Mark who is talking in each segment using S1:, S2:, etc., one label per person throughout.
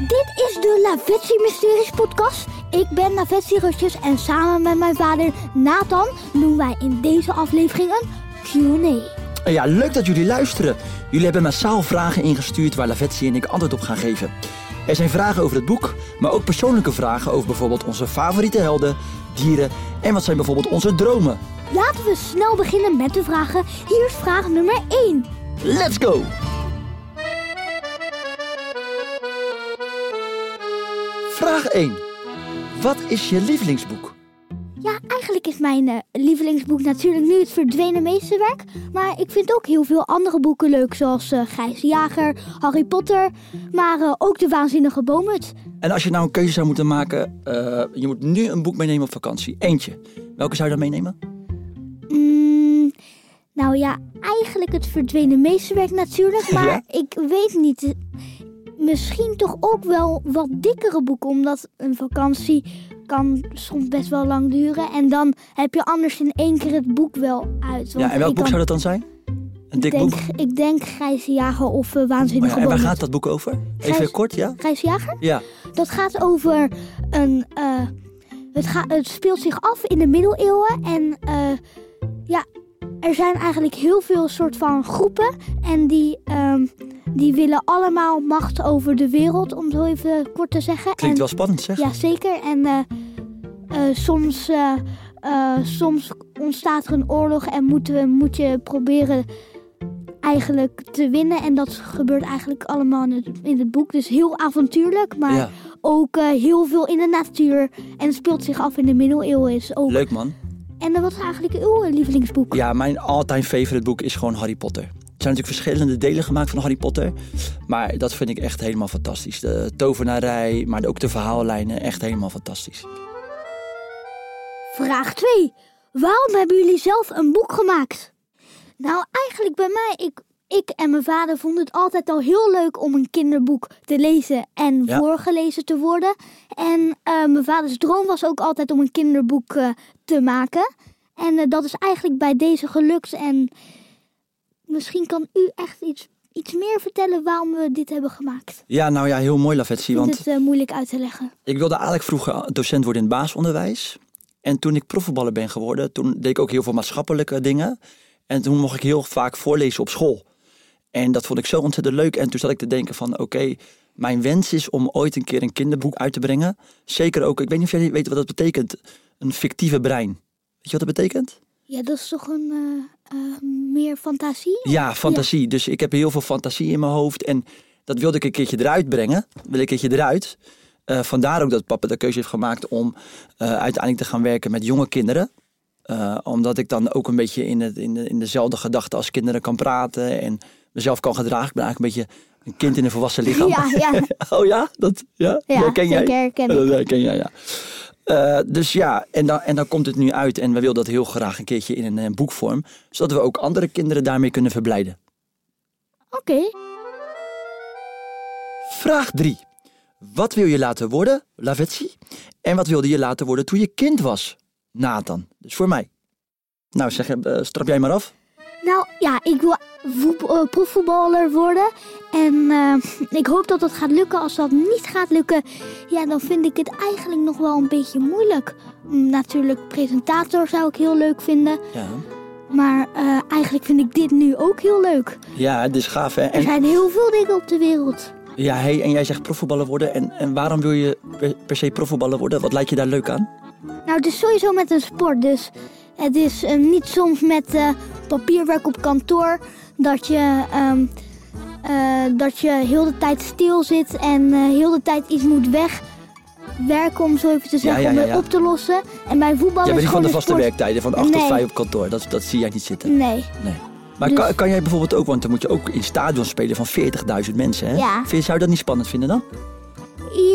S1: Dit is de Lavetsi Mysteries podcast. Ik ben Lavetsi Rutjes en samen met mijn vader Nathan doen wij in deze aflevering een Q&A.
S2: Eh, Ja, leuk dat jullie luisteren. Jullie hebben massaal vragen ingestuurd waar Lavetsi en ik antwoord op gaan geven. Er zijn vragen over het boek, maar ook persoonlijke vragen over bijvoorbeeld onze favoriete helden, dieren en wat zijn bijvoorbeeld onze dromen.
S1: Laten we snel beginnen met de vragen. Hier is vraag nummer 1.
S2: Let's go! Vraag 1. Wat is je lievelingsboek?
S1: Ja, eigenlijk is mijn eh, lievelingsboek natuurlijk nu het verdwenen meesterwerk. Maar ik vind ook heel veel andere boeken leuk, zoals eh Gijs de Jager, Harry Potter, maar eh, ook De Waanzinnige Boomhut.
S2: En als je nou een keuze zou moeten maken, eh, je moet nu een boek meenemen op vakantie. Eentje. Welke zou je dan meenemen?
S1: Mm, nou ja, eigenlijk het verdwenen meesterwerk natuurlijk. Maar
S2: Ja?
S1: ik weet niet. Misschien toch ook wel wat dikkere boeken. Omdat een vakantie kan soms best wel lang duren. En dan heb je anders in één keer het boek wel uit.
S2: Ja, en welk boek zou dat dan zijn? Een dik boek?
S1: denk, Ik denk Grijze Jager of eh, Waanzinnige
S2: Maar ja, en waar
S1: Boomhut.
S2: gaat dat boek over?
S1: Gijs-
S2: Even kort, ja?
S1: Grijze Jager?
S2: Ja.
S1: Dat gaat over een... eh, het, ga- het speelt zich af in de middeleeuwen. En eh, ja, er zijn eigenlijk heel veel soort van groepen. En die, ehm, die willen allemaal macht over de wereld, om zo even kort te zeggen.
S2: Klinkt
S1: en,
S2: wel spannend, zeg.
S1: Ja, zeker. En eh, eh, soms, eh, eh, soms ontstaat er een oorlog en moeten we, moet je proberen eigenlijk te winnen. En dat gebeurt eigenlijk allemaal in het, in het boek. Dus heel avontuurlijk, maar
S2: Ja.
S1: ook eh, heel veel in de natuur. En het speelt zich af in de middeleeuwen. Is ook.
S2: Leuk, man.
S1: En eh, wat is eigenlijk uw eh, lievelingsboek?
S2: Ja, mijn all-time favorite boek is gewoon Harry Potter. Er zijn natuurlijk verschillende delen gemaakt van Harry Potter. Maar dat vind ik echt helemaal fantastisch. De tovenarij, maar ook de verhaallijnen. Echt helemaal fantastisch.
S1: Vraag 2. Waarom hebben jullie zelf een boek gemaakt? Nou, eigenlijk bij mij, ik, ik en mijn vader vonden het altijd al heel leuk om een kinderboek te lezen en
S2: Ja.
S1: voorgelezen te worden. En eh, mijn vaders droom was ook altijd om een kinderboek eh, te maken. En eh, dat is eigenlijk bij deze gelukt. En misschien kan u echt iets, iets meer vertellen waarom we dit hebben gemaakt.
S2: Ja, nou ja, heel mooi, Lavetsi.
S1: Ik vind
S2: Want
S1: het eh, moeilijk uit te leggen.
S2: Ik wilde eigenlijk vroeger docent worden in het basisonderwijs. En toen ik profvoetballer ben geworden, toen deed ik ook heel veel maatschappelijke dingen. En toen mocht ik heel vaak voorlezen op school. En dat vond ik zo ontzettend leuk. En toen zat ik te denken van, oké, mijn wens is om ooit een keer een kinderboek uit te brengen. Zeker ook, ik weet niet of jullie weten wat dat betekent, een fictieve brein. Weet je wat dat betekent?
S1: Ja, dat is toch een eh, eh, meer fantasie?
S2: Ja, fantasie. Dus ik heb heel veel fantasie in mijn hoofd. En dat wilde ik een keertje eruit brengen. Wil ik een keertje eruit. Eh, vandaar ook dat papa de keuze heeft gemaakt om eh, uiteindelijk te gaan werken met jonge kinderen. Eh, omdat ik dan ook een beetje in, het, in, de, in dezelfde gedachten als kinderen kan praten. En mezelf kan gedragen. Ik ben eigenlijk een beetje een kind in een volwassen lichaam.
S1: Ja, ja.
S2: Oh ja? Dat, ja?
S1: Ja,
S2: dat ken jij?
S1: zeker herken ik.
S2: Dat herken jij, ja. Eh, dus ja, en dan, en dan komt het nu uit. En we willen dat heel graag een keertje in een, eh, boekvorm. Zodat we ook andere kinderen daarmee kunnen verblijden.
S1: Oké.
S2: Vraag 3. Wat wil je laten worden, Lavetsi? En wat wilde je laten worden toen je kind was, Nathan? Dus voor mij. Nou, zeg, eh, strap jij maar af.
S1: Nou ja, ik wil voetb- eh, profvoetballer worden. En eh, ik hoop dat dat gaat lukken. Als dat niet gaat lukken, ja, dan vind ik het eigenlijk nog wel een beetje moeilijk. Mm, Natuurlijk, presentator zou ik heel leuk vinden.
S2: Ja,
S1: Maar eh, eigenlijk vind ik dit nu ook heel leuk.
S2: ja het is gaaf, hè?
S1: Er
S2: En,
S1: zijn heel veel dingen op de wereld.
S2: ja, hey, en jij zegt profvoetballer worden. En, en waarom wil je per, per se profvoetballer worden? Wat lijkt je daar leuk aan?
S1: Nou, het is sowieso met een sport. Dus het is eh, niet soms met eh, papierwerk op kantoor dat je, ehm, eh, dat je heel de tijd stil zit en eh, heel de tijd iets moet wegwerken, om zo even te zeggen,
S2: ja,
S1: om
S2: ja,
S1: het
S2: ja.
S1: op te lossen. En bij voetbal
S2: Jij
S1: is
S2: bent niet van
S1: gewoon
S2: de
S1: een
S2: vaste
S1: sport.
S2: werktijden, van 8 tot
S1: Nee.
S2: 5 op kantoor. Dat, dat zie jij niet zitten.
S1: Nee.
S2: Nee. Maar
S1: Dus-
S2: kan, kan jij bijvoorbeeld ook, want dan moet je ook in stadions spelen van 40.000 mensen, hè?
S1: Ja.
S2: Vind, je- zou je dat niet spannend vinden dan?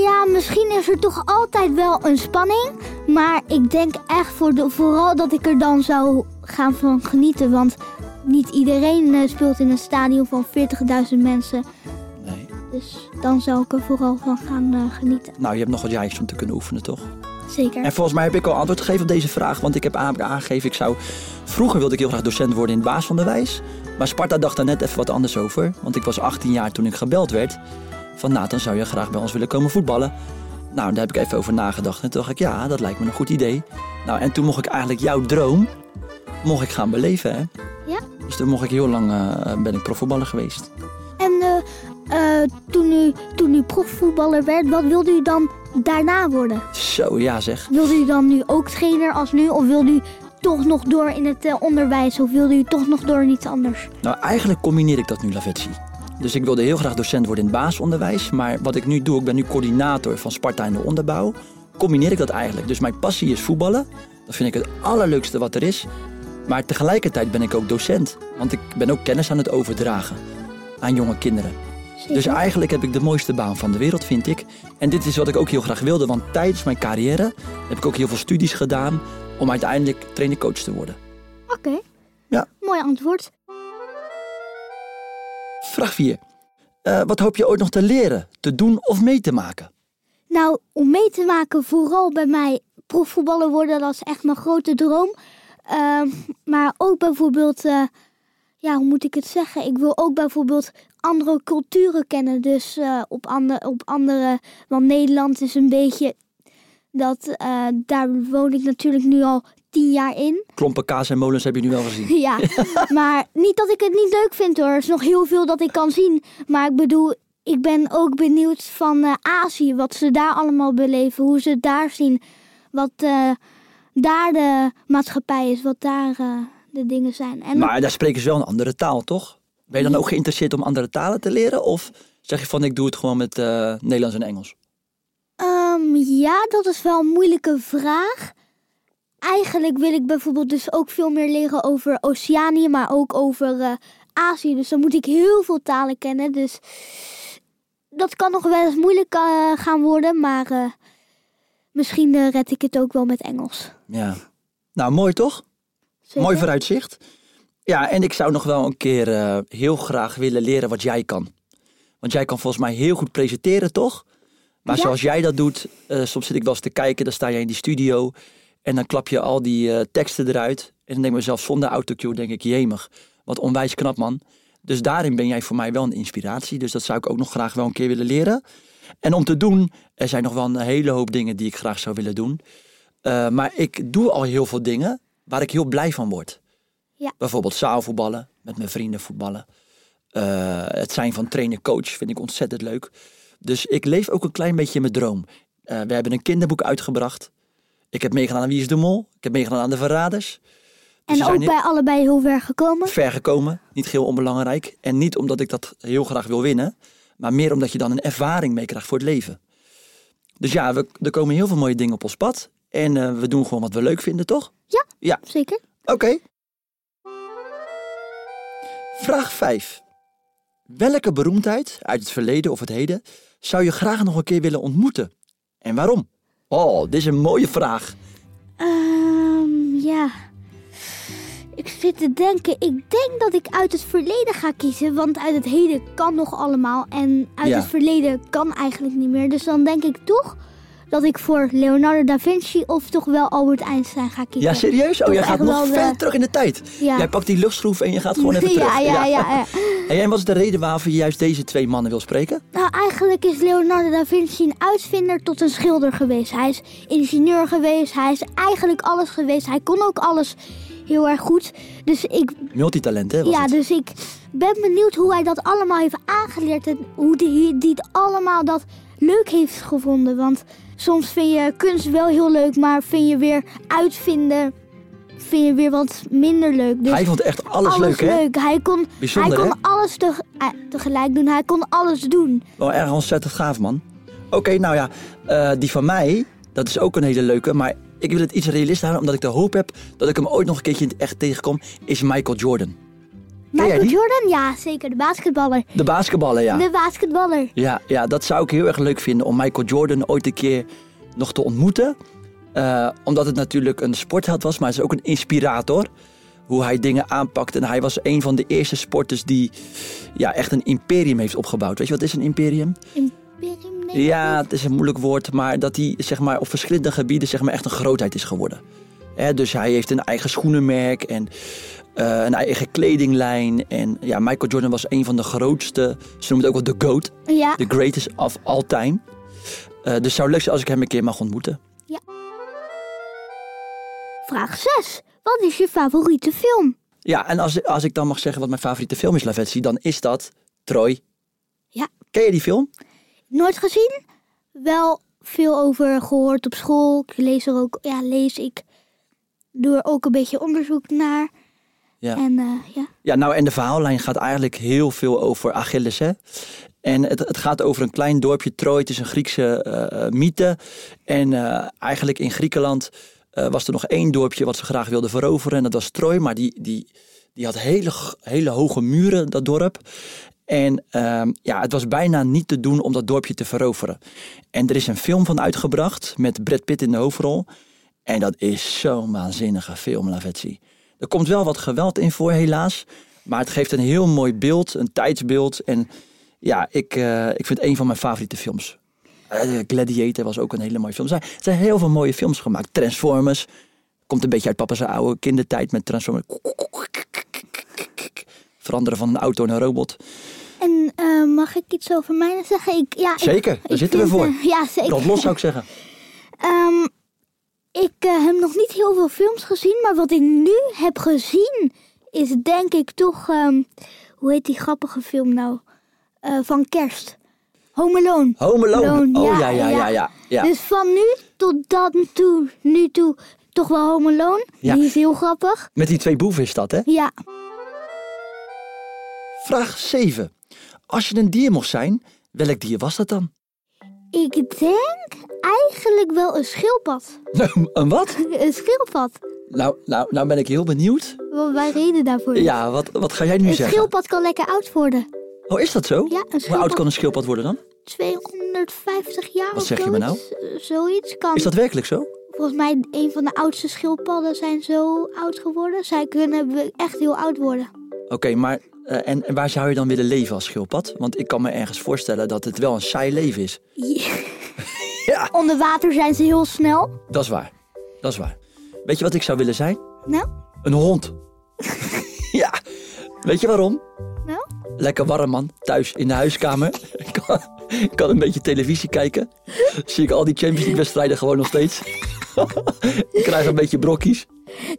S1: Ja, misschien is er toch altijd wel een spanning. Maar ik denk echt voor de, vooral dat ik er dan zou gaan van genieten. Want niet iedereen eh, speelt in een stadion van 40.000 mensen.
S2: Nee.
S1: Dus dan zou ik er vooral van gaan eh, genieten.
S2: Nou, je hebt nog wat jaartjes om te kunnen oefenen, toch?
S1: Zeker.
S2: En volgens mij heb ik al antwoord gegeven op deze vraag. Want ik heb aan- aangegeven, ik zou... Vroeger wilde ik heel graag docent worden in het basisonderwijs. Maar Sparta dacht daar net even wat anders over. Want ik was 18 jaar toen ik gebeld werd van Nathan zou je graag bij ons willen komen voetballen? Nou, daar heb ik even over nagedacht en toen dacht ik ja, dat lijkt me een goed idee. Nou, en toen mocht ik eigenlijk jouw droom mocht ik gaan beleven hè.
S1: Ja.
S2: Dus toen mocht ik heel lang eh, ben ik profvoetballer geweest.
S1: En eh, eh, toen, u, toen u profvoetballer werd, wat wilde u dan daarna worden?
S2: Zo ja zeg.
S1: Wilde u dan nu ook trainer als nu? Of wilde u toch nog door in het eh, onderwijs? Of wilde u toch nog door in iets anders?
S2: Nou, eigenlijk combineer ik dat nu, Lavetsi. Dus ik wilde heel graag docent worden in het basisonderwijs. Maar wat ik nu doe, ik ben nu coördinator van Sparta in de onderbouw. Combineer ik dat eigenlijk. Dus mijn passie is voetballen. Dat vind ik het allerleukste wat er is. Maar tegelijkertijd ben ik ook docent. Want ik ben ook kennis aan het overdragen aan jonge kinderen. Dus eigenlijk heb ik de mooiste baan van de wereld, vind ik. En dit is wat ik ook heel graag wilde. Want tijdens mijn carrière heb ik ook heel veel studies gedaan... om uiteindelijk trainercoach te worden.
S1: Oké.
S2: Ja.
S1: Mooi antwoord.
S2: Vraag 4. Eh, wat hoop je ooit nog te leren, te doen of mee te maken?
S1: Nou, om mee te maken, vooral bij mij profvoetballer worden, dat is echt mijn grote droom. Ehm, maar ook bijvoorbeeld, eh, ja, hoe moet ik het zeggen? Ik wil ook bijvoorbeeld andere culturen kennen. Dus eh, op, ander, op andere, want Nederland is een beetje dat, eh, daar woon ik natuurlijk nu al tien jaar in.
S2: Klompen, kaas en molens heb je nu wel gezien.
S1: Ja, maar niet dat ik het niet leuk vind hoor. Er is nog heel veel dat ik kan zien. Maar ik bedoel, ik ben ook benieuwd van eh, Azië. Wat ze daar allemaal beleven. Hoe ze het daar zien. Wat eh, daar de maatschappij is. Wat daar eh, de dingen zijn. En
S2: Maar daar spreken ze wel een andere taal, toch? Ben je dan ook geïnteresseerd om andere talen te leren? Of zeg je van, ik doe het gewoon met eh, Nederlands en Engels?
S1: ehm, ja, dat is wel een moeilijke vraag. Eigenlijk wil ik bijvoorbeeld dus ook veel meer leren over Oceanië. Maar ook over eh, Azië. Dus dan moet ik heel veel talen kennen. Dus dat kan nog wel eens moeilijk eh, gaan worden, maar eh, misschien eh, red ik het ook wel met Engels.
S2: Ja. Nou, mooi toch?
S1: Zeker?
S2: Mooi vooruitzicht. Ja, en ik zou nog wel een keer eh, heel graag willen leren wat jij kan. Want jij kan volgens mij heel goed presenteren, toch? Maar
S1: Ja.
S2: zoals jij dat doet, eh, soms zit ik wel eens te kijken, dan sta jij in die studio en dan klap je al die eh, teksten eruit. En dan denk ik mezelf, zonder autocue denk ik, jemig, wat onwijs knap man. Dus daarin ben jij voor mij wel een inspiratie. Dus dat zou ik ook nog graag wel een keer willen leren. En om te doen, er zijn nog wel een hele hoop dingen die ik graag zou willen doen. Eh, maar ik doe al heel veel dingen waar ik heel blij van word.
S1: Ja.
S2: Bijvoorbeeld zaalvoetballen, met mijn vrienden voetballen. Eh, het zijn van trainer-coach vind ik ontzettend leuk. Dus ik leef ook een klein beetje in mijn droom. Eh, we hebben een kinderboek uitgebracht. Ik heb meegedaan aan Wie is de Mol. Ik heb meegedaan aan De Verraders. Dus
S1: En
S2: ze
S1: ook
S2: zijn heel-
S1: bij allebei heel ver gekomen.
S2: Ver gekomen, niet heel onbelangrijk. En niet omdat ik dat heel graag wil winnen. Maar meer omdat je dan een ervaring meekrijgt voor het leven. Dus ja, we, er komen heel veel mooie dingen op ons pad. En eh, we doen gewoon wat we leuk vinden, toch?
S1: Zeker.
S2: Oké. Vraag 5. Welke beroemdheid uit het verleden of het heden zou je graag nog een keer willen ontmoeten? En waarom? Oh, dit is een mooie vraag.
S1: Ehm, ja. Ik zit te denken. Ik denk dat ik uit het verleden ga kiezen. Want uit het heden kan nog allemaal. En uit
S2: Ja.
S1: het verleden kan eigenlijk niet meer. Dus dan denk ik toch dat ik voor Leonardo da Vinci of toch wel Albert Einstein ga kiezen.
S2: Ja, serieus? Oh, jij
S1: Toch
S2: gaat
S1: echt
S2: nog
S1: wel,
S2: ver
S1: eh,
S2: terug in de tijd.
S1: Ja.
S2: Jij pakt die luchtschroef en je gaat gewoon even terug.
S1: ja, ja, ja, ja.
S2: En wat is de reden waarvoor je juist deze twee mannen wil spreken?
S1: Nou, eigenlijk is Leonardo da Vinci een uitvinder tot een schilder geweest. Hij is ingenieur geweest, hij is eigenlijk alles geweest. Hij kon ook alles heel erg goed. Dus ik,
S2: Multitalent, hè? Was
S1: ja,
S2: het?
S1: dus ik ben benieuwd hoe hij dat allemaal heeft aangeleerd. En hoe die, die het allemaal dat leuk heeft gevonden. Want soms vind je kunst wel heel leuk, maar vind je weer uitvinden... Vind je weer wat minder leuk. Dus
S2: Hij vond echt alles,
S1: alles
S2: leuk, hè?
S1: leuk. Hij kon,
S2: Bijzonder,
S1: hij
S2: hè?
S1: kon alles teg- eh, tegelijk doen. Hij kon alles doen.
S2: Wel erg ontzettend gaaf, man. Oké, nou ja, eh, die van mij, dat is ook een hele leuke. Maar ik wil het iets realistisch houden, omdat ik de hoop heb dat ik hem ooit nog een keertje in het echt tegenkom. Is Michael Jordan. jij
S1: Michael
S2: die? Ah.
S1: Jordan, ja, zeker. De basketballer.
S2: De basketballer, ja.
S1: De basketballer.
S2: ja. Ja, dat zou ik heel erg leuk vinden om Michael Jordan ooit een keer nog te ontmoeten. Eh, omdat het natuurlijk een sportheld was, maar hij is ook een inspirator. Hoe hij dingen aanpakt. En hij was een van de eerste sporters die ja, echt een imperium heeft opgebouwd. Weet je wat is een imperium?
S1: Imperium, nee,
S2: Ja,
S1: dat
S2: het is een moeilijk woord, maar dat hij zeg maar, op verschillende gebieden zeg maar, echt een grootheid is geworden. Hè, dus hij heeft een eigen schoenenmerk en eh, een eigen kledinglijn. En ja, Michael Jordan was een van de grootste. Ze noemen het ook wel de GOAT.
S1: Ja.
S2: De greatest of all time. Eh, dus het zou leuk zijn als ik hem een keer mag ontmoeten.
S1: Vraag 6. Wat is je favoriete film?
S2: Ja, en als, als ik dan mag zeggen wat mijn favoriete film is, Lavetsi, dan is dat Troy.
S1: Ja.
S2: Ken je die film?
S1: Nooit gezien? Wel veel over gehoord op school. Ik lees er ook, ja, lees ik. Doe er ook een beetje onderzoek naar.
S2: Ja.
S1: En eh, ja.
S2: Ja, nou, en de verhaallijn gaat eigenlijk heel veel over Achilles, hè? En het, het gaat over een klein dorpje Troy. Het is een Griekse eh, eh, mythe. En eh, eigenlijk in Griekenland eh, was er nog één dorpje wat ze graag wilden veroveren. En dat was Troy. Maar die, die, die had hele, g- hele hoge muren, dat dorp. En ehm, ja, het was bijna niet te doen om dat dorpje te veroveren. En er is een film van uitgebracht met Brad Pitt in de hoofdrol. En dat is zo'n waanzinnige film, Lavetsi. Er komt wel wat geweld in voor, helaas. Maar het geeft een heel mooi beeld, een tijdsbeeld. En ja, ik, eh, ik vind het een van mijn favoriete films. Eh, Gladiator was ook een hele mooie film. Er zijn, er zijn heel veel mooie films gemaakt. Transformers. Komt een beetje uit papa's oude kindertijd met Transformers. Veranderen van een auto in een robot.
S1: En eh, mag ik iets over mij zeggen? Ik, ja, ik-
S2: Zeker, daar
S1: ik
S2: zitten we
S1: vind,
S2: voor.
S1: eh, ja, zeker.
S2: Dat los zou ik zeggen.
S1: Ehm, ik eh, heb nog niet heel veel films gezien, maar wat ik nu heb gezien is denk ik toch, ehm, hoe heet die grappige film nou? Eh, van kerst. Home Alone.
S2: Home Alone.
S1: Alone,
S2: Oh
S1: ja,
S2: ja, ja, ja,
S1: ja.
S2: ja. ja.
S1: Dus van nu tot dan toe, nu toe, toch wel Home Alone.
S2: Ja.
S1: Die is heel grappig.
S2: Met die twee boeven is dat, hè?
S1: Ja,
S2: Vraag 7. Als je een dier mocht zijn, welk dier was dat dan?
S1: ik denk eigenlijk wel een schildpad.
S2: Nou, een wat?
S1: een schildpad.
S2: Nou, nou, nou ben ik heel benieuwd.
S1: Wat wij reden daarvoor. is.
S2: Ja, wat, wat ga jij nu
S1: een
S2: zeggen?
S1: schildpad kan lekker oud worden.
S2: Oh, is dat zo?
S1: Ja, een
S2: Hoe oud
S1: schildpad-
S2: kan een schildpad worden dan?
S1: 250 jaar
S2: Wat
S1: of
S2: zeg je me nou?
S1: zoiets, eh, zoiets kan.
S2: Is dat werkelijk zo?
S1: Volgens mij een van de oudste schildpadden zijn zo oud geworden. Zij kunnen we- echt heel oud worden.
S2: Oké, maar eh, en, en waar zou je dan willen leven als schildpad? Want ik kan me ergens voorstellen dat het wel een saai leven is. Ja.
S1: Onder water zijn ze heel snel.
S2: Dat is waar. Dat is waar. Weet je wat ik zou willen zijn?
S1: Nou,
S2: Een hond. ja. Weet je waarom?
S1: nou.
S2: Lekker warm man, thuis in de huiskamer. Ik kan, ik kan een beetje televisie kijken. Zie ik al die Champions League wedstrijden gewoon nog steeds. ik krijg een beetje brokkies.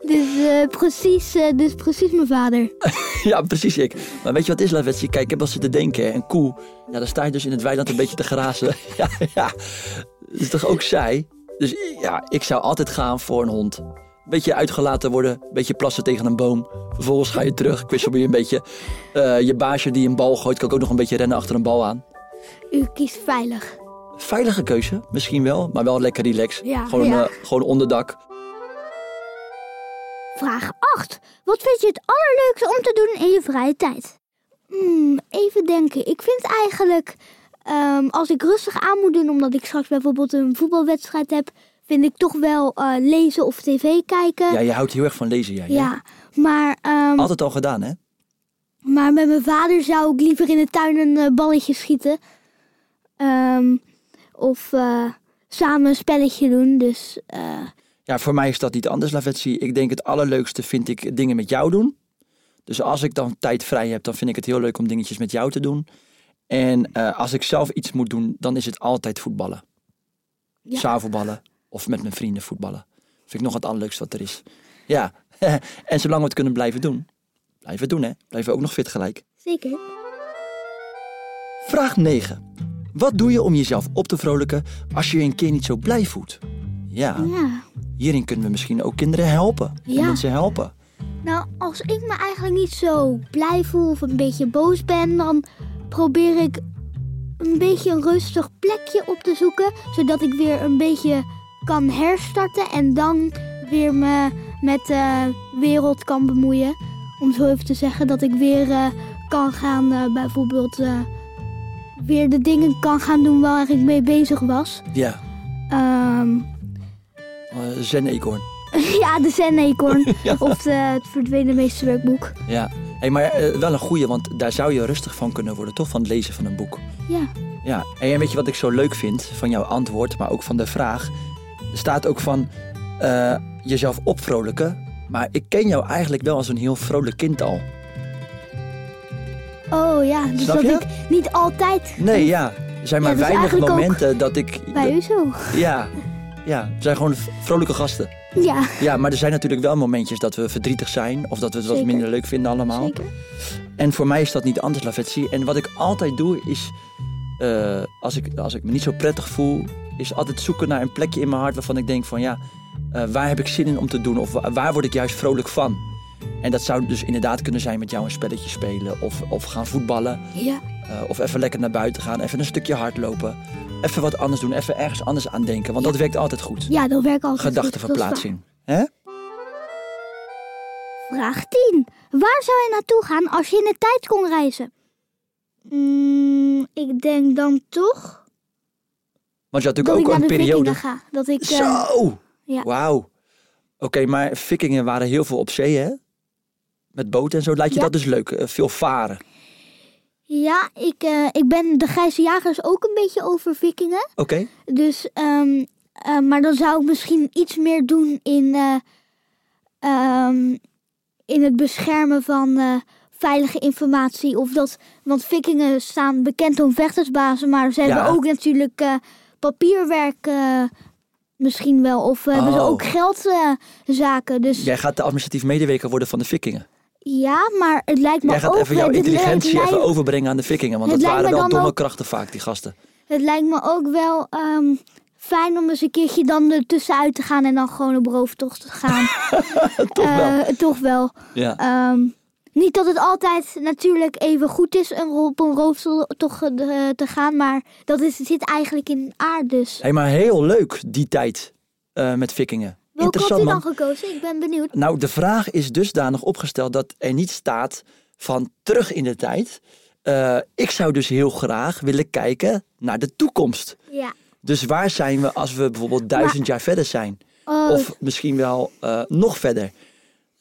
S1: Dus, eh, precies, eh, dus precies mijn vader.
S2: Ja, precies ik. Maar weet je wat is, Lavetsi? Kijk, ik heb wel zitten denken, hè. een koe. Ja, dan sta je dus in het weiland een beetje te grazen. Ja, ja. Dat is toch ook zij? Dus ja, ik zou altijd gaan voor een hond. Beetje uitgelaten worden, beetje plassen tegen een boom. Vervolgens ga je terug, kwispel je een beetje. Eh, je baasje die een bal gooit, kan ook nog een beetje rennen achter een bal aan.
S1: U kiest veilig.
S2: Veilige keuze, misschien wel, maar wel lekker relaxed.
S1: Ja,
S2: gewoon,
S1: ja.
S2: eh, gewoon onderdak.
S1: Vraag 8. Wat vind je het allerleukste om te doen in je vrije tijd? Hmm, even denken. Ik vind eigenlijk, ehm, als ik rustig aan moet doen, omdat ik straks bijvoorbeeld een voetbalwedstrijd heb, vind ik toch wel eh, lezen of tv kijken.
S2: Ja, je houdt heel erg van lezen, jij. hè?
S1: Ja, maar, ehm,
S2: Altijd al gedaan, hè?
S1: maar met mijn vader zou ik liever in de tuin een eh, balletje schieten. Ehm, of eh, samen een spelletje doen. Dus eh,
S2: Ja, voor mij is dat niet anders, Lavetsi. Ik denk het allerleukste vind ik dingen met jou doen. Dus als ik dan tijd vrij heb, dan vind ik het heel leuk om dingetjes met jou te doen. En eh, als ik zelf iets moet doen, dan is het altijd voetballen.
S1: Ja.
S2: Zaalvoetballen of met mijn vrienden voetballen. Vind ik nog het allerleukste wat er is. Ja, en zolang we het kunnen blijven doen. Blijven doen, hè. Blijven we ook nog fit gelijk.
S1: zeker.
S2: Vraag 9. Wat doe je om jezelf op te vrolijken als je je een keer niet zo blij voelt? Ja,
S1: Ja.
S2: hierin kunnen we misschien ook kinderen helpen. en
S1: Ja.
S2: Mensen helpen.
S1: Nou, als ik me eigenlijk niet zo blij voel of een beetje boos ben, dan probeer ik een beetje een rustig plekje op te zoeken, zodat ik weer een beetje kan herstarten en dan weer me met de wereld kan bemoeien. Om zo even te zeggen dat ik weer eh, kan gaan, eh, bijvoorbeeld eh, weer de dingen kan gaan doen waar ik mee bezig was.
S2: Ja,
S1: Ehm,
S2: eh, zen-eekhoorn.
S1: ja, de Zen-eekhoorn
S2: Ja.
S1: of de, het verdwenen meesterwerkboek.
S2: Ja. Hey, maar eh, wel een goeie, want daar zou je rustig van kunnen worden, toch? Van het lezen van een boek.
S1: Ja.
S2: Ja. Hey, en weet je wat ik zo leuk vind van jouw antwoord, maar ook van de vraag? Er staat ook van eh, jezelf opvrolijken, Maar ik ken jou eigenlijk wel als een heel vrolijk kind al.
S1: Oh ja, dus
S2: Snap
S1: dat
S2: je?
S1: ik niet altijd
S2: Nee, ja. Er zijn
S1: Ja,
S2: maar
S1: dat is
S2: weinig
S1: eigenlijk ook
S2: momenten dat ik...
S1: bij u zo.
S2: Ja, ja. We zijn gewoon v- vrolijke gasten.
S1: Ja,
S2: Ja, maar er zijn natuurlijk wel momentjes dat we verdrietig zijn. Of dat we het wat
S1: Zeker.
S2: minder leuk vinden allemaal.
S1: zeker.
S2: En voor mij is dat niet anders, Lavetsi. En wat ik altijd doe is, eh, als, ik, als ik me niet zo prettig voel, is altijd zoeken naar een plekje in mijn hart waarvan ik denk van ja, eh, waar heb ik zin in om te doen? Of wa- waar word ik juist vrolijk van? En dat zou dus inderdaad kunnen zijn met jou een spelletje spelen of, of gaan voetballen.
S1: Ja,
S2: eh, of even lekker naar buiten gaan, even een stukje hardlopen. Even wat anders doen, even ergens anders aan denken. Want dat werkt altijd goed.
S1: ja dat werkt altijd. goed.
S2: Gedachtenverplaatsing. Hè?
S1: Dat is waar. Vraag 10. Waar zou je naartoe gaan als je in de tijd kon reizen? Mm, ik denk dan toch
S2: Want je
S1: dat ik
S2: had natuurlijk ook
S1: naar
S2: een
S1: de
S2: periode.
S1: vikingen ga. Dat ik, eh,
S2: Zo!
S1: ja.
S2: Wauw. Oké, maar vikingen waren heel veel op zee, hè? Met boten en zo. Laat je
S1: Ja.
S2: dat dus leuk? eh, veel varen.
S1: ja, ik, eh, ik ben de grijze jagers ook een beetje over vikingen.
S2: Oké.
S1: Dus, ehm, eh, maar dan zou ik misschien iets meer doen in, eh, ehm, in het beschermen van eh, veilige informatie. Of dat, want vikingen staan bekend om vechtersbazen, maar ze
S2: Ja.
S1: hebben ook natuurlijk eh, papierwerk eh, misschien wel. Of eh, hebben ze
S2: Oh.
S1: ook geldzaken. dus
S2: Jij gaat de administratief medewerker worden van de vikingen.
S1: ja, maar het lijkt me
S2: Jij gaat
S1: ook...
S2: even jouw
S1: het- het
S2: intelligentie
S1: lijkt-
S2: even overbrengen aan de vikingen. Want
S1: het
S2: dat
S1: lijkt
S2: waren
S1: me
S2: wel
S1: dan
S2: domme
S1: ook-
S2: krachten vaak, die gasten.
S1: Het lijkt me ook wel ehm, fijn om eens een keertje dan er tussenuit te gaan en dan gewoon op rooftocht te gaan. toch wel. Toch wel.
S2: Ja.
S1: Ehm, niet dat het altijd natuurlijk even goed is om op een rooftocht eh, te gaan, maar dat is, zit eigenlijk in aard dus.
S2: Hé, maar heel leuk die tijd eh, met vikingen.
S1: Welke had
S2: Interessant,
S1: u
S2: man.
S1: dan gekozen? Ik ben benieuwd.
S2: Nou, de vraag is dusdanig opgesteld dat er niet staat van terug in de tijd. Eh, ik zou dus heel graag willen kijken naar de toekomst.
S1: Ja.
S2: Dus waar zijn we als we bijvoorbeeld duizend jaar verder zijn?
S1: Oh,
S2: Of misschien wel eh, nog verder.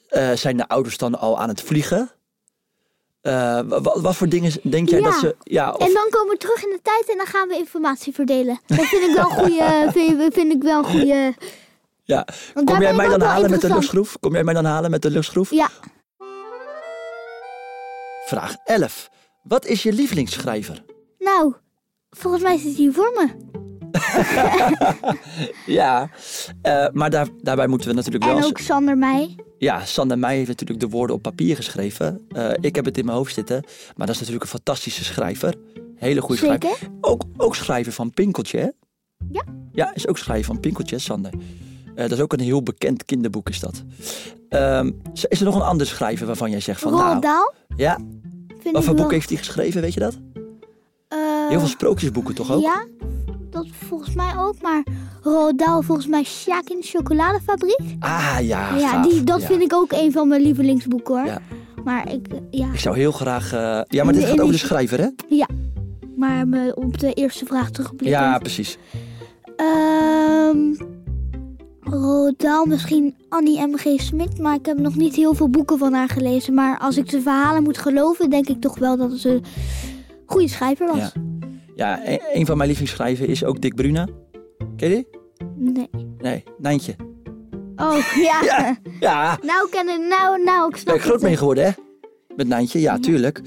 S2: Eh, zijn de ouders dan al aan het vliegen? Eh, wa- wa- wat voor dingen denk jij
S1: Ja.
S2: dat ze... Ja, of,
S1: En dan komen we terug in de tijd en dan gaan we informatie verdelen. Dat vind ik wel een goede. Vind, vind ik wel een goede.
S2: ja.
S1: Want daar
S2: Kom jij
S1: ben
S2: mij
S1: ik ook
S2: dan
S1: wel
S2: halen met de
S1: interessant.
S2: luchtschroef? Kom jij mij dan halen met de luchtschroef?
S1: Ja.
S2: Vraag 11. Wat is je lievelingsschrijver?
S1: Nou, volgens mij zit hij voor me.
S2: Ja, eh, maar daar, daarbij moeten we natuurlijk wel...
S1: En
S2: eens-
S1: ook Sander mij.
S2: Ja, Sander Meij heeft natuurlijk de woorden op papier geschreven. Eh, ik heb het in mijn hoofd zitten. Maar dat is natuurlijk een fantastische schrijver. Hele goede
S1: Zeker.
S2: schrijver. Ook, ook schrijver van Pinkeltje, hè?
S1: Ja.
S2: Ja, is ook schrijver van Pinkeltje, hè, Sander. Eh, dat is ook een heel bekend kinderboek, is dat. Ehm, z- is er nog een ander schrijver waarvan jij zegt van...
S1: Roald
S2: nou,
S1: Dahl
S2: ja,
S1: vind
S2: wat
S1: ik
S2: voor
S1: wel...
S2: boek heeft hij geschreven, weet je dat?
S1: eh,
S2: Heel veel sprookjesboeken toch ook?
S1: Ja, dat volgens mij ook. Maar Roald Dahl, volgens mij Sjaak in de chocoladefabriek.
S2: Ah, ja,
S1: ja,
S2: gaaf.
S1: die, dat
S2: Ja.
S1: vind ik ook een van mijn lievelingsboeken hoor.
S2: Ja.
S1: Maar ik, eh, ja.
S2: Ik zou heel graag... eh, Ja, maar dit
S1: Nee,
S2: gaat over de
S1: nee.
S2: schrijver, hè?
S1: ja. Maar me op de eerste vraag terugblikken.
S2: Ja, precies.
S1: Ehm, Roald Dahl, misschien Annie M.G. Smit. Maar ik heb nog niet heel veel boeken van haar gelezen. Maar als ik de verhalen moet geloven, denk ik toch wel dat ze een goede schrijver was.
S2: Ja. Ja, e- een van mijn lievelingsschrijvers is ook Dick Bruna. Ken je die?
S1: Nee.
S2: Nee, Nijntje.
S1: Oh, ja.
S2: Ja, ja. Daar
S1: Nou, ken ik, nou, nou, ik
S2: ben
S1: snap
S2: ik groot
S1: het.
S2: mee geworden, hè? Met Nijntje, ja, tuurlijk.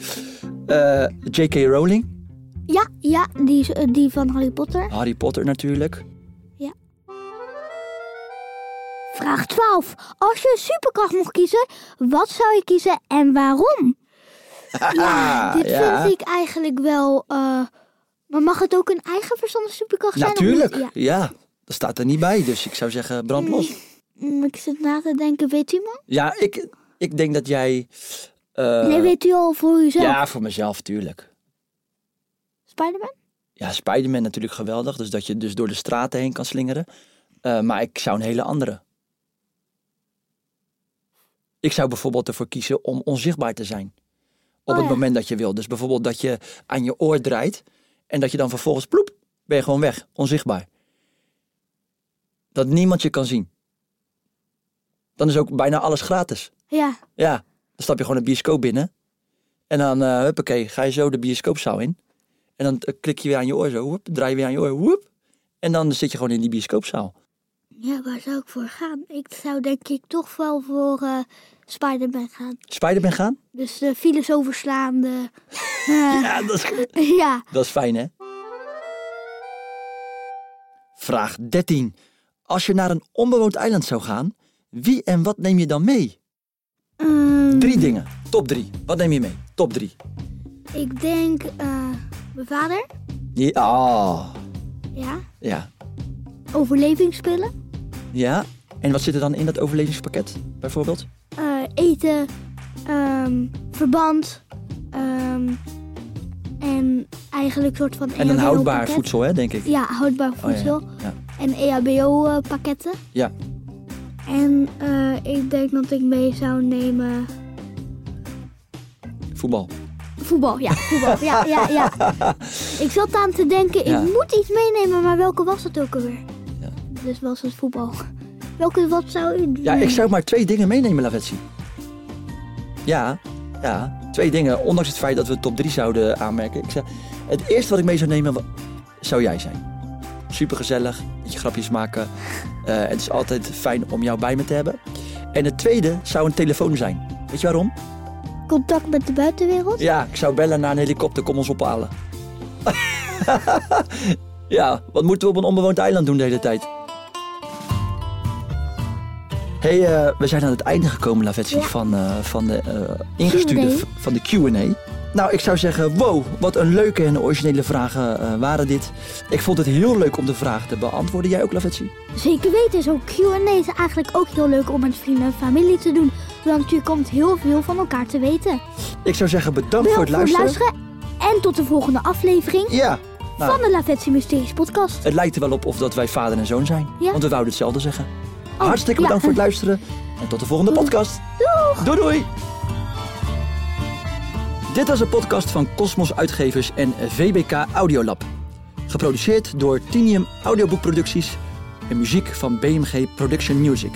S2: Eh, J.K. Rowling,
S1: Ja, ja, die, is, eh, die van Harry Potter.
S2: Harry Potter natuurlijk.
S1: Vraag 12. Als je een superkracht mocht kiezen, wat zou je kiezen en waarom? ja, dit
S2: Ah, ja.
S1: vind ik eigenlijk wel... eh, maar mag het ook een eigen verstandige superkracht zijn? of niet?
S2: Natuurlijk, ja.
S1: Ja.
S2: Dat staat er niet bij, dus ik zou zeggen brand los.
S1: Mm, Ik zit na te denken, weet u man?
S2: Ja, ik, ik denk dat jij... eh,
S1: nee, weet u al voor uzelf?
S2: ja, voor mezelf, tuurlijk.
S1: Spider-Man?
S2: Ja, Spider-Man natuurlijk geweldig, dus dat je dus door de straten heen kan slingeren. Eh, maar ik zou een hele andere. Ik zou bijvoorbeeld ervoor kiezen om onzichtbaar te zijn.
S1: Oh
S2: Op het
S1: ja.
S2: moment dat je wil. Dus bijvoorbeeld dat je aan je oor draait en dat je dan vervolgens ploep, ben je gewoon weg, onzichtbaar. Dat niemand je kan zien. Dan is ook bijna alles gratis.
S1: Ja.
S2: Ja, dan stap je gewoon de bioscoop binnen. En dan, eh huppakee, ga je zo de bioscoopzaal in. En dan eh, klik je weer aan je oor zo, woep, draai je weer aan je oor, woep. En dan zit je gewoon in die bioscoopzaal.
S1: Ja, waar zou ik voor gaan? Ik zou denk ik toch wel voor eh Spider-Man gaan.
S2: Spider-Man gaan?
S1: Dus de files overslaande. eh,
S2: Ja, dat is,
S1: ja.
S2: dat is fijn hè? Vraag 13. Als je naar een onbewoond eiland zou gaan, wie en wat neem je dan mee?
S1: Ehm,
S2: Drie dingen. Top drie. Wat neem je mee? Top drie.
S1: ik denk eh, mijn vader.
S2: Ja. ah.
S1: Ja.
S2: Ja.
S1: Overlevingspillen.
S2: Ja. En wat zit er dan in dat overlevingspakket, bijvoorbeeld?
S1: eh, eten, ehm, verband ehm, en eigenlijk soort van E
S2: En een
S1: EHBO
S2: houdbaar
S1: pakket.
S2: voedsel, hè, denk ik.
S1: Ja, houdbaar
S2: Oh,
S1: voedsel
S2: ja.
S1: en E eh, EHBO-pakketten.
S2: Ja.
S1: En eh, ik denk dat ik mee zou nemen
S2: Voetbal.
S1: voetbal. Ja, voetbal. ja, ja, ja. Ik zat aan te denken,
S2: Ja.
S1: ik moet iets meenemen, maar welke was het ook alweer?
S2: Ja.
S1: Dus was het voetbal. Welke, wat zou u
S2: Ja, ik zou maar twee dingen meenemen, Lavetsi. Ja, ja, twee dingen. Ondanks het feit dat we top 3 zouden aanmerken. Ik zou, het eerste wat ik mee zou nemen, wa- zou jij zijn. Supergezellig, met je grapjes maken. Eh, het is altijd fijn om jou bij me te hebben. En het tweede zou een telefoon zijn. Weet je waarom?
S1: Contact met de buitenwereld?
S2: Ja, ik zou bellen naar een helikopter, kom ons ophalen. ja, wat moeten we op een onbewoond eiland doen de hele tijd? hey, eh, we zijn aan het einde gekomen, Lavetsi,
S1: Ja.
S2: van, eh, van de eh, ingestuurde
S1: Q&A.
S2: v- van de Q&A. Nou, ik zou zeggen, wow, wat een leuke en originele vragen eh, waren dit. Ik vond het heel leuk om de vragen te beantwoorden. Jij ook, Lavetsi?
S1: Zeker weten, zo'n Q&A is eigenlijk ook heel leuk om met vrienden en familie te doen. Want je komt heel veel van elkaar te weten.
S2: Ik zou zeggen, bedankt
S1: Bedankt
S2: voor het luisteren.
S1: En tot de volgende aflevering
S2: Ja, nou.
S1: van de Lavetsi Mysteries podcast.
S2: het lijkt er wel op of dat wij vader en zoon zijn.
S1: Ja.
S2: Want we wouden hetzelfde zeggen.
S1: Oh,
S2: Hartstikke
S1: ja.
S2: bedankt voor het luisteren. En tot de volgende podcast. Doeg! Doei doei! Dit was een podcast van Cosmos Uitgevers en VBK Audiolab. Geproduceerd door Tinium Audioboekproducties en muziek van BMG Production Music.